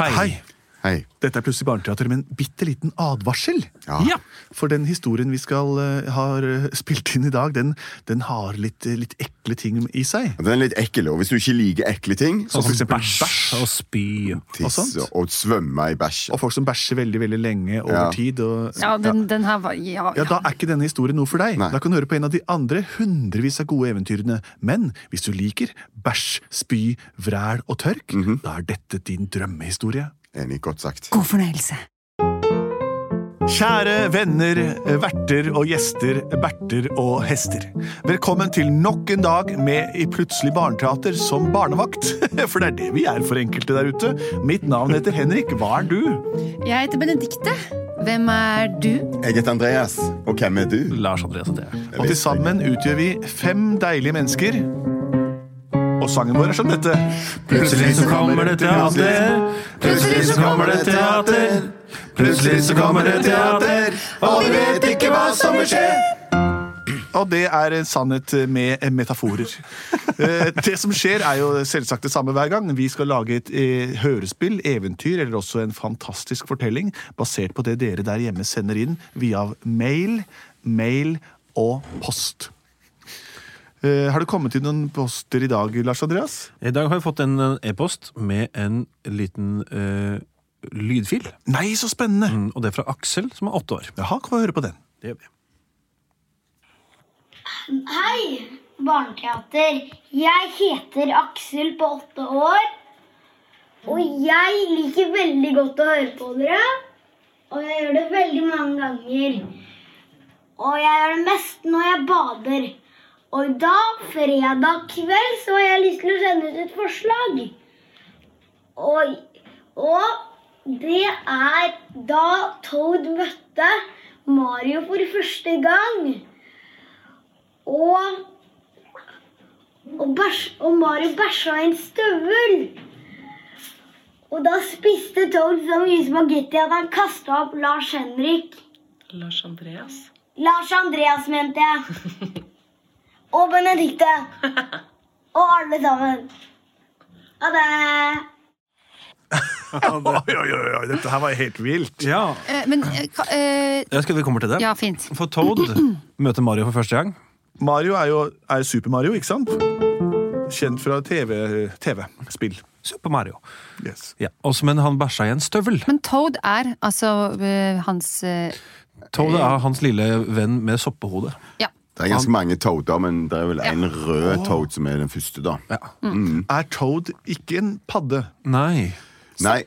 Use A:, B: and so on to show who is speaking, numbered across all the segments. A: Hei.
B: Hei.
C: Dette er plutselig barneteater med en bitte liten advarsel.
B: Ja.
A: Ja.
C: For den historien vi skal eh, har eh, spilt inn i dag, den, den har litt, eh, litt ekle ting i seg.
B: Den er litt ekkel, og hvis du ikke liker ekle ting
C: Sånn som
B: så-
C: eksempel
A: Bæsj og spy.
C: og sånt.
B: Tisse og svømme i bæsj.
C: Og folk som bæsjer veldig veldig lenge over
B: Ja.
C: tid. Og,
D: Ja, den, den her var ja,
C: Ja, Da er ikke denne historien noe for deg.
B: Nei.
C: Da kan du høre på en av de andre hundrevis av gode eventyrene. Men hvis du liker bæsj, spy, vræl og tørk,
B: Mhm.
C: da er dette din drømmehistorie.
B: Enig, godt sagt.
D: God fornøyelse.
C: Kjære venner, verter og gjester, berter og hester. Velkommen til nok en dag med i Plutselig barneteater som barnevakt. For det er det vi er for enkelte der ute. Mitt navn heter Henrik. Hva er du?
D: Jeg heter Benedikte. Hvem er du?
B: Jeg heter Andreas, og hvem er du?
A: Lars Andreas heter jeg.
C: Og til sammen utgjør vi fem deilige mennesker. Og sangen vår er som dette.
B: Plutselig så kommer det teater.
D: Plutselig så
B: kommer det teater. Plutselig så kommer det teater, og vi vet ikke hva som vil skje.
C: Og det er en sannhet med metaforer. Eh, Det som skjer, er jo selvsagt det samme hver gang. Vi skal lage et eh, hørespill, eventyr eller også en fantastisk fortelling basert på det dere der hjemme sender inn via mail, mail og post. Eh, Har det kommet inn noen poster i dag, Lars Andreas?
A: I dag har vi fått en eh, e-post med en liten eh, lydfil.
C: Nei, så spennende!
A: Mm, Og det er fra Aksel, som er åtte år.
C: Jaha, kan vi høre på den?
A: Det gjør vi.
E: Hei, barneteater. Jeg heter Aksel på åtte år. Og jeg liker veldig godt å høre på dere. Og jeg gjør det veldig mange ganger. Og jeg gjør det mest når jeg bader. Og i dag, fredag kveld, så har jeg lyst til å sende ut et forslag. Og, og det er da Toad møtte Mario for første gang. Og og, bæsj, og Mario bæsja i en støvel. Og da spiste Toad så mye spagetti at han kasta opp Lars Henrik.
F: Lars Andreas.
E: Lars Andreas, mente jeg. Og Benedicte. Og alle sammen. Ha det.
C: Oi, oi, oi, oi, dette her var helt vilt.
A: Ja.
D: Eh, Men eh, ka- eh,
A: Jeg skal vi kommer til det.
D: Ja, fint.
A: For Toad møter Mario for første gang.
C: Mario er jo er Super Mario, ikke sant? Kjent fra TV-spill. TV, spill.
A: Super Mario.
C: yes.
A: Ja. Også, men han bæsja i en støvel.
D: Men Toad er altså eh, hans eh,
A: Toad er hans lille venn med soppehode.
D: Ja.
B: Det er ganske mange toader, men det er vel en rød toad som er den første, da.
A: Ja.
D: Mm.
C: Er Toad ikke en padde?
A: Nei.
B: Nei.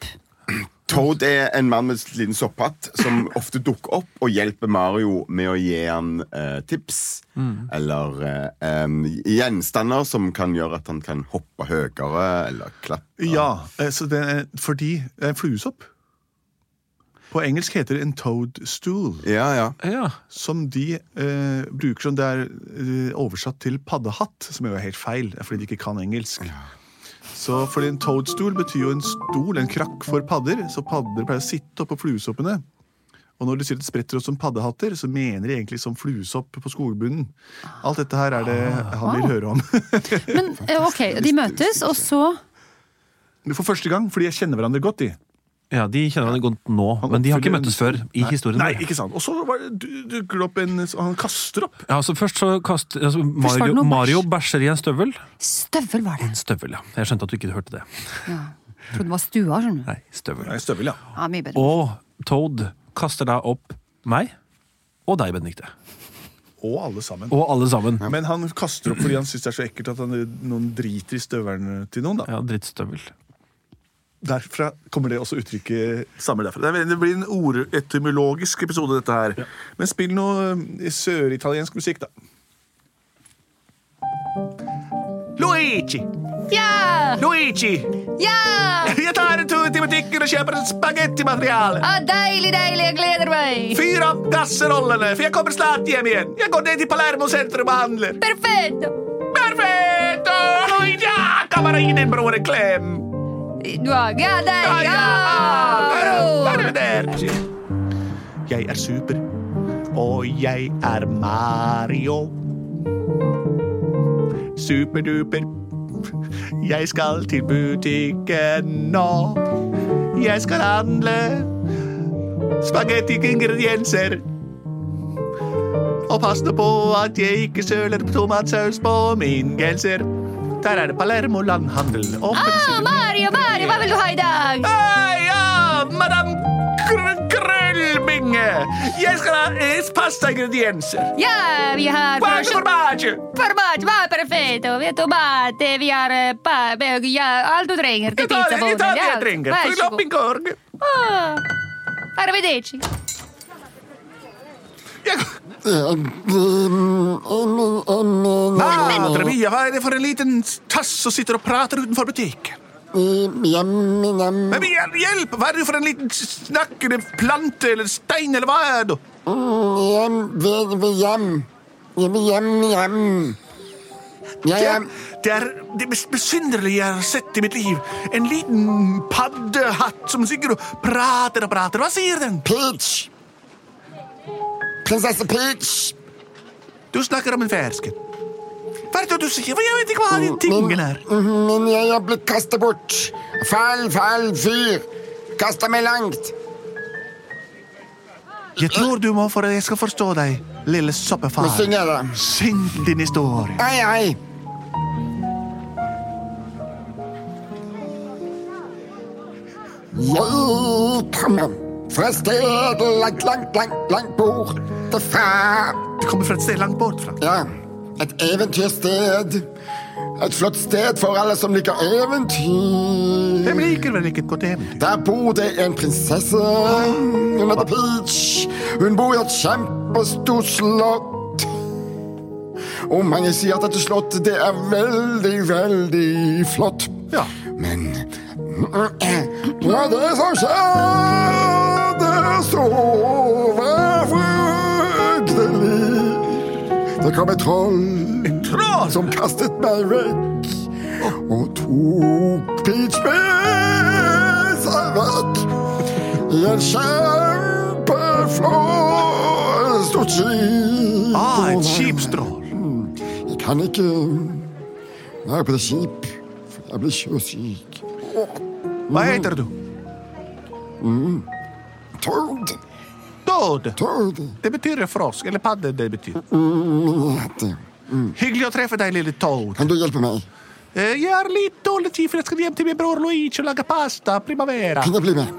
B: Toad er en mann med en liten sopphatt som ofte dukker opp og hjelper Mario med å gi han eh, tips
C: Mm.
B: eller eh, em, gjenstander som kan gjøre at han kan hoppe høyere eller klatre.
C: Ja, eh, så det er, fordi det er en fluesopp. På engelsk heter det en toadstool,
B: Ja, ja.
A: Ja.
C: som de eh, bruker som det er eh, oversatt til paddehatt, som jo er helt feil, det er fordi de ikke kan engelsk. Så fordi en toadstool betyr jo en stol, en krakk for padder, så padder pleier å sitte oppå fluesoppene. Og når de sier at det spretter opp som paddehatter, så mener de egentlig som fluesopp på skogbunnen. Alt dette her er det
A: Ah.
C: han vil høre om.
D: Men eh, ok, de møtes, og så
C: For første gang, fordi jeg kjenner hverandre godt, de.
A: ja, de kjenner hverandre godt nå, men de har ikke
C: oppfyller-
A: møttes før i historien.
C: Nei,
A: vår.
C: ikke sant. Og så var det- du- dukker det opp en Han kaster opp.
A: Ja, altså først så kast, altså
D: Først
A: Mario,
D: var det noe bæsj.
A: Mario bæsjer i en støvel.
D: Støvel var det.
A: Støvel, ja. Jeg skjønte at du ikke hørte det.
D: Ja. Jeg trodde det var stua, skjønner du.
A: Nei, støvel.
C: Nei, støvel, ja.
D: Ja, mye bedre.
A: Og Toad kaster da opp meg og deg, Benedikte.
C: Og alle sammen.
A: Og alle sammen.
C: Men han kaster opp fordi han syns det er så ekkelt at han, noen driter i støvelen til noen. da.
A: Ja, drittstøvel.
C: Derfra kommer det også uttrykket samme derfra. Det er- Det blir en ordetymologisk episode, dette her. Men spill noe eh, søritaliensk musikk, da. Luigi!
D: Ja!
C: Luigi!
D: Ja!
C: Jeg tar en tur til butikken og kjøper spagettimateriale.
D: Ah, deilig, deilig, jeg gleder meg!
C: Fyr opp kasserollene, for jeg kommer snart hjem igjen. Jeg går ned til Palermo sentrum og handler.
D: Perfekt!
C: Perfetto! Luigi! Ja, kan bare gi din bror en klem.
D: Du har
C: Ja,
D: ja, deilig!
C: ja.
D: Ja!
C: Arrivederci. Jeg er super, og jeg er Mario. Superduper. Jeg skal til butikken nå. Jeg skal handle spagettiingredienser. Og passe på at jeg ikke søler tomatsaus på min genser. Der er det Palermo landhandel. Åpen
D: Ah, Mario, Mario, hva vil du ha i dag?
C: Hei, ja, madame Kr- Krøllbinge. Jeg skal ha es pastaingredienser.
D: Ja, vi har
C: Guarda
D: frosset
C: formaggio.
D: format, hva er perfekt? Og vi har tomat, vi har eh, pa- be- ja, alt du trenger til
C: Jeg tar
D: pizzaboden.
C: jeg tar det
D: sånn, Ja,
C: jeg trenger.
D: vær
C: Fyll
D: så
C: opp
D: god.
C: min korg.
D: Ah, Arrivederci.
C: Madre mia, hva er det for en liten tass som sitter og prater utenfor butikk? Men hjel- hjelp, hva er det for en liten snakkende plante eller stein eller hva er det? Det er, det er det mest besynderlige jeg har sett i mitt liv. En liten paddehatt som sikkert prater og prater. Hva sier den?
G: Peach. Prinsesse Peach.
C: Du snakker om en fersken. Hva er det du sier? Jeg vet ikke hva de tingene er.
G: Men jeg er blitt kastet bort. Feil, feil fyr. Kasta meg langt.
C: Jeg tror du må for at jeg skal forstå deg, lille soppefar.
G: Nå synger jeg det.
C: Syng din historie.
G: Hei, hei. Jeg kommer fra et sted langt, langt, langt, langt borte fra.
C: Det kommer fra et sted langt bort fra.
G: Ja, et eventyrsted. Et flott sted for alle som liker um eventyr.
C: Hvem liker vel ikke et godt eventyr?
G: Der bor det en prinsesse. Hun heter Peach. Hun bor i et kjempestort slott. Og mange sier at dette slottet det er veldig, veldig flott.
C: Ja.
G: Men ja, det som skjedde, så var fryktelig. Det kom et troll
C: Troll!
G: som kastet meg vekk og tok Peach med seg vekk i en kjempeflott stort skip.
C: Ah, et skipstrål.
G: Jeg kan ikke være på det skip. Jeg blir sjøsyk.
C: Hva heter du?
G: Tord,
C: Dodd.
G: Tord
C: Det betyr frosk, eller padde det betyr.
G: heter jeg.
C: Hyggelig å treffe deg, lille Toad.
G: Kan du hjelpe meg?
C: Eh, Jeg har litt dårlig tid, for jeg skal hjem til min bror Luigi og lage pasta. Primavera.
G: Kan jeg bli med?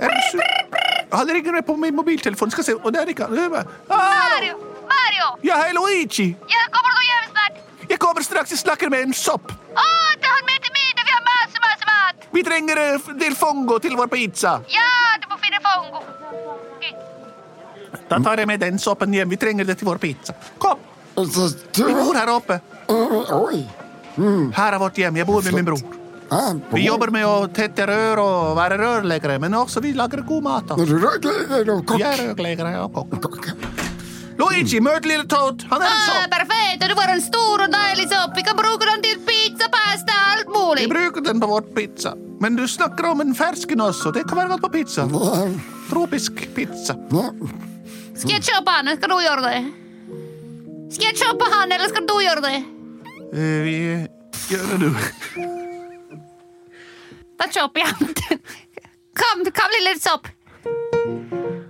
C: Er du su- Han ringer meg på min mobiltelefon. Skal se. Og der ikke han. Ah!
H: Mario! Mario!
C: Ja, hei, Luigi.
H: Jeg kommer du hjem snart?
C: Jeg kommer straks og snakker med en sopp.
H: Å, ta han med til middag! Vi har masse, masse mat!
C: Vi trenger eh, f- del fongo til vår pizza.
H: Ja, du må finne Fongo. Ok.
C: Da tar jeg med den soppen hjem. Vi trenger det til vår pizza. Kom,
G: Altså, du
C: vi bor her oppe.
G: Oi.
C: Her er vårt hjem. Jeg bor med min bror.
G: Ah,
C: Vi jobber med å tette rør og være rørleggere, men også vi lager god mat. da.
G: Er du rødlegger og
C: Vi er
G: kokk?
C: rørleggere og kokk.
G: Kokk.
C: Luigi, møt lille Toad. Han er en
D: Ah,
C: sopp.
D: perfekt, du får en stor og deilig sopp. Vi kan bruke den til pizza, pasta, alt
C: Vi
D: mulig.
C: bruker den på vår pizza. Men du snakker om en fersken også. Det kan være godt på pizza.
G: Ah,
C: Tropisk pizza.
G: Ja,
D: Skal jeg kjøpe han, eller skal du gjøre det? Skal jeg kjøpe han, eller skal du gjøre det?
C: Eh, Vi gjør det, du.
D: Da kjøper jeg den. Kom, kom lille sopp.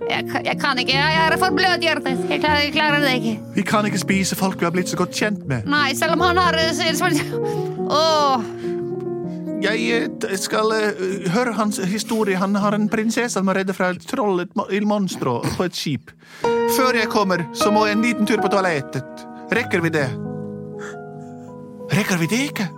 D: Jeg, kan- jeg kan ikke, jeg er for bløt i hjertet. Jeg klarer, jeg klarer det ikke.
C: Vi kan ikke spise folk vi har blitt så godt kjent med.
D: Nei, selv om han har eh, så- så- Åh,
C: Jeg eh, t- skal eh, høre hans historie. Han har en prinsesse han må redde fra et troll, et mo- et monstro, på et skip. Før jeg kommer, så må jeg en liten tur på toalettet. Rekker vi det? Rekker vi det ikke?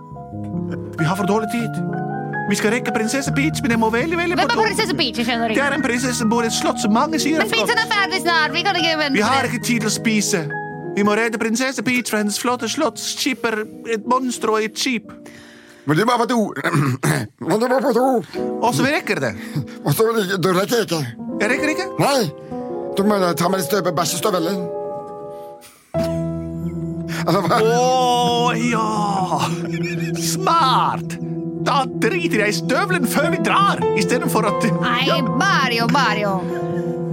C: Vi har for dårlig tid. Vi skal rekke prinsesse Peach, men jeg må veldig, veldig
D: Hvem
C: på
D: er
C: do.
D: prinsesse Peach? Jeg skjønner
C: Det
D: ikke.
C: er en prinsesse som bor i et slott som mange sier
D: Men
C: er flott.
D: pizzaen er ferdig snart. Vi kan ikke vente.
C: Vi har
D: på det.
C: ikke tid til å spise. Vi må redde prinsesse Peach fra hennes flotte slott. Skipper et monster og et skip.
G: Men du må på do. Men du må på do.
C: Og så rekker det.
G: Og så vil jeg- Du rekker ikke.
C: Jeg rekker ikke.
G: Nei. Du må ta med deg støpe- bæsjestøvelen. Eller hva?
C: Å ja! Smart! Da driter jeg i støvelen før vi drar, istedenfor at
D: Nei, Mario, Mario.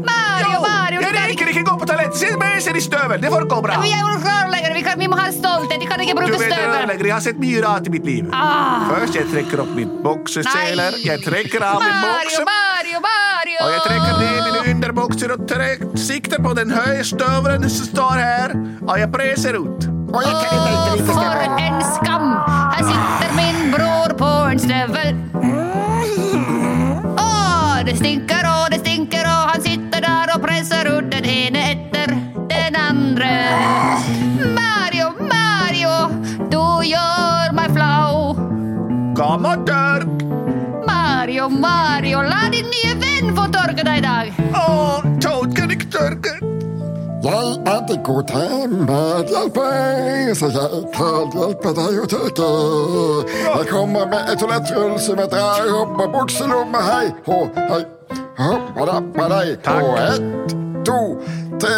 D: Mario, Mario.
C: Jeg
D: du kan ikke-
C: rekker ikke gå på toalettet! Siden med ser i støvel! Det får gå bra.
D: Vi er jo rørleggere, vi, kan- vi må ha stolthet. Vi kan ikke
C: Du
D: bruke
C: vet,
D: støvel.
C: rørlegger, jeg har sett mye rart i mitt liv.
D: Ah,
C: Først jeg trekker opp min bokseseler,
D: Nei.
C: jeg trekker av min
D: Mario,
C: bokse,
D: Mario, Mario.
C: og jeg trekker ned mine underbukser og trek, sikter på den høye støvelen som står her, og jeg preser ut.
G: Å, jeg kan ikke
D: Å,
G: røyke litt i
D: For
G: støvelen.
D: en skam! Her sitter min bror på en støvel. Å, det stinker og det stinker, og han sitter der og presser ut den ene etter den andre. Mario, Mario, du gjør meg flau.
C: Kom og tørk!
D: Mario, Mario, la din nye venn få tørke deg i dag.
C: Å, Toad kan ikke tørke!
G: Jeg er den gode medhjelper, så jeg kan hjelpe deg å tørke. Jeg kommer med et toalettrull som jeg drar opp av bukselommet. Hei, hå, hei, hoppa da, på deg. Og ett, to, tre,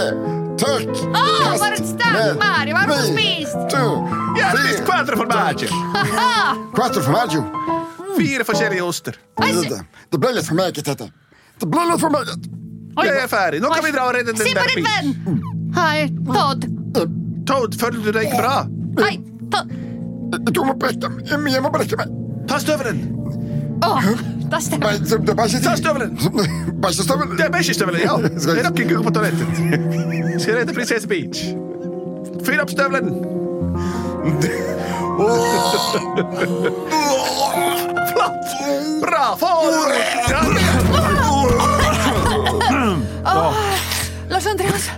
G: tørk.
D: Å,
G: Kast
D: for en sterk
G: ned.
D: Mario, hva har du
G: Ni,
D: spist?
G: to,
C: Jeg har spist
G: fire,
C: quattro formaggi.
G: quattro formaggio.
C: Fire forskjellige oster.
G: Det det ble litt for meget, dette. Det ble litt for meget.
C: Jeg er ferdig. Nå kan vi dra og redde
D: Se
C: den
D: på
C: der
D: din
C: bilen.
D: venn! Hei, Todd.
C: Toad, føler du deg ikke bra?
D: Hei, Todd.
G: Du må brekke meg. Jeg må brekke meg.
C: Ta støvelen!
D: Å, da stemmer
G: Bæ- det- det- bæsje-
C: Ta støvelen!
G: Bæsjestøvelen.
C: Det er bæsjestøvelen, ja. Jeg rakk ikke gå på toalettet. Skal jeg redde prinsesse Peach. Fyr opp støvelen! Flott! Bra! Få
D: Lars Andreas,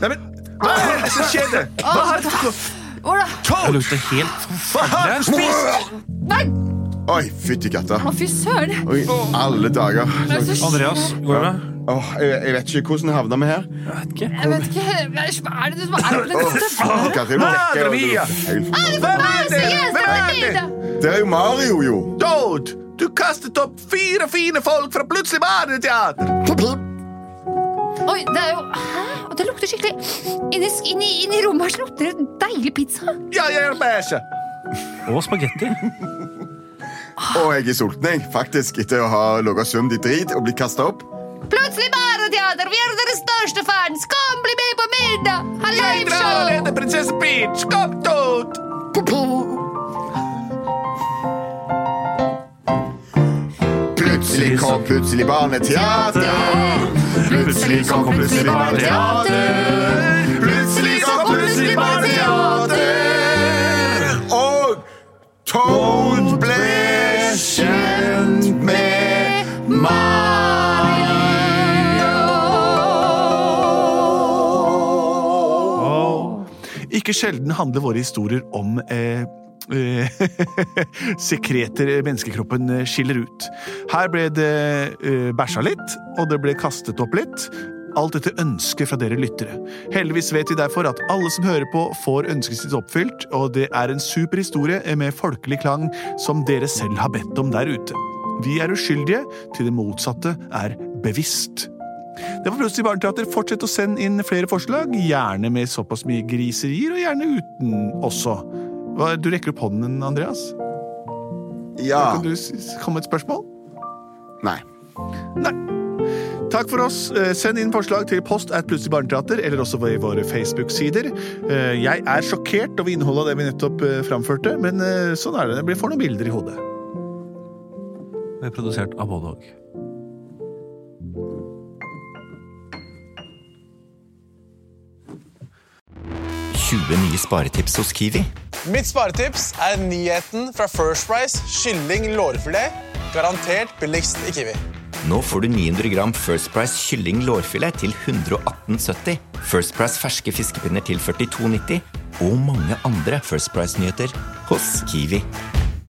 C: Neimen, hva er det som skjedde? Hva har
D: hvordan
A: Det
C: Toad,
A: lukter helt
C: hva har du spist?
D: Nei,
B: Oi, fytti katta.
D: å, fy søren!
B: Oi, alle dager.
D: Hva er det som skjer?
A: Andreas, går det bra?
B: Åh, jeg, jeg vet ikke hvordan havna vi her.
D: Jeg vet ikke Hva er det som er med
B: Oh.
D: den støvelen?
B: Katrine må
C: Madre
B: rekke, og du-
C: mia!
B: Helt-
C: Hvem er det? Hvem er det?
B: Det er jo Mario, jo.
C: Toad, du kastet opp fire fine folk fra plutselig barneteater!
G: Pip, pip.
D: Oi, det er jo Hæ? Og det lukter skikkelig Inni, inni, inni rommet her så lukter det deilig pizza.
C: Ja, jeg er bæsja.
A: Og spagetti.
B: Og jeg er sulten, jeg, faktisk, etter å ha ligget svømt i drit og blitt kasta opp.
D: Plutselig bare teater! Vi er deres største fans! Kom, bli med på middag! Ha
C: Jeg drar
D: liveshow!
C: alene, prinsesse Peach! Kom, Toad!
B: Plutselig kom plutselig barneteater. Plutselig kom plutselig barneteater. Plutselig
C: oh,
B: kom plutselig barneteater. Og Toad ble kjent med Mario.
C: Ikke sjelden handler våre historier om eh, eh, sekreter menneskekroppen eh, skiller ut. Her ble det eh, bæsja litt, og det ble kastet opp litt. Alt etter ønske fra dere lyttere. Heldigvis vet vi derfor at alle som hører på, får ønsket sitt oppfylt, og det er en super historie med folkelig klang som dere selv har bedt om der ute. Vi er uskyldige til det motsatte er bevisst. Det var Plutselig barneteater. Fortsett å sende inn flere forslag, gjerne med såpass mye griserier, og gjerne uten også. Hva, du rekker opp hånden, Andreas.
B: Ja.
C: Kan du s- s- komme med et spørsmål?
B: Nei.
C: Nei. Takk for oss. Eh, Send inn forslag til post at Plutselig barneteater, eller også i våre Facebook-sider. Eh, Jeg er sjokkert over innholdet av det vi nettopp eh, framførte, men eh, sånn er det. Det blir for noen bilder i hodet.
A: Det er produsert av både og.
I: Mitt sparetips er nyheten fra First Price kylling lårfilet. Garantert billigst i Kiwi.
J: Nå får du 900 gram First Price kylling lårfilet til 118,70. First Price ferske fiskepinner til 42,90. Og mange andre First Price-nyheter hos Kiwi.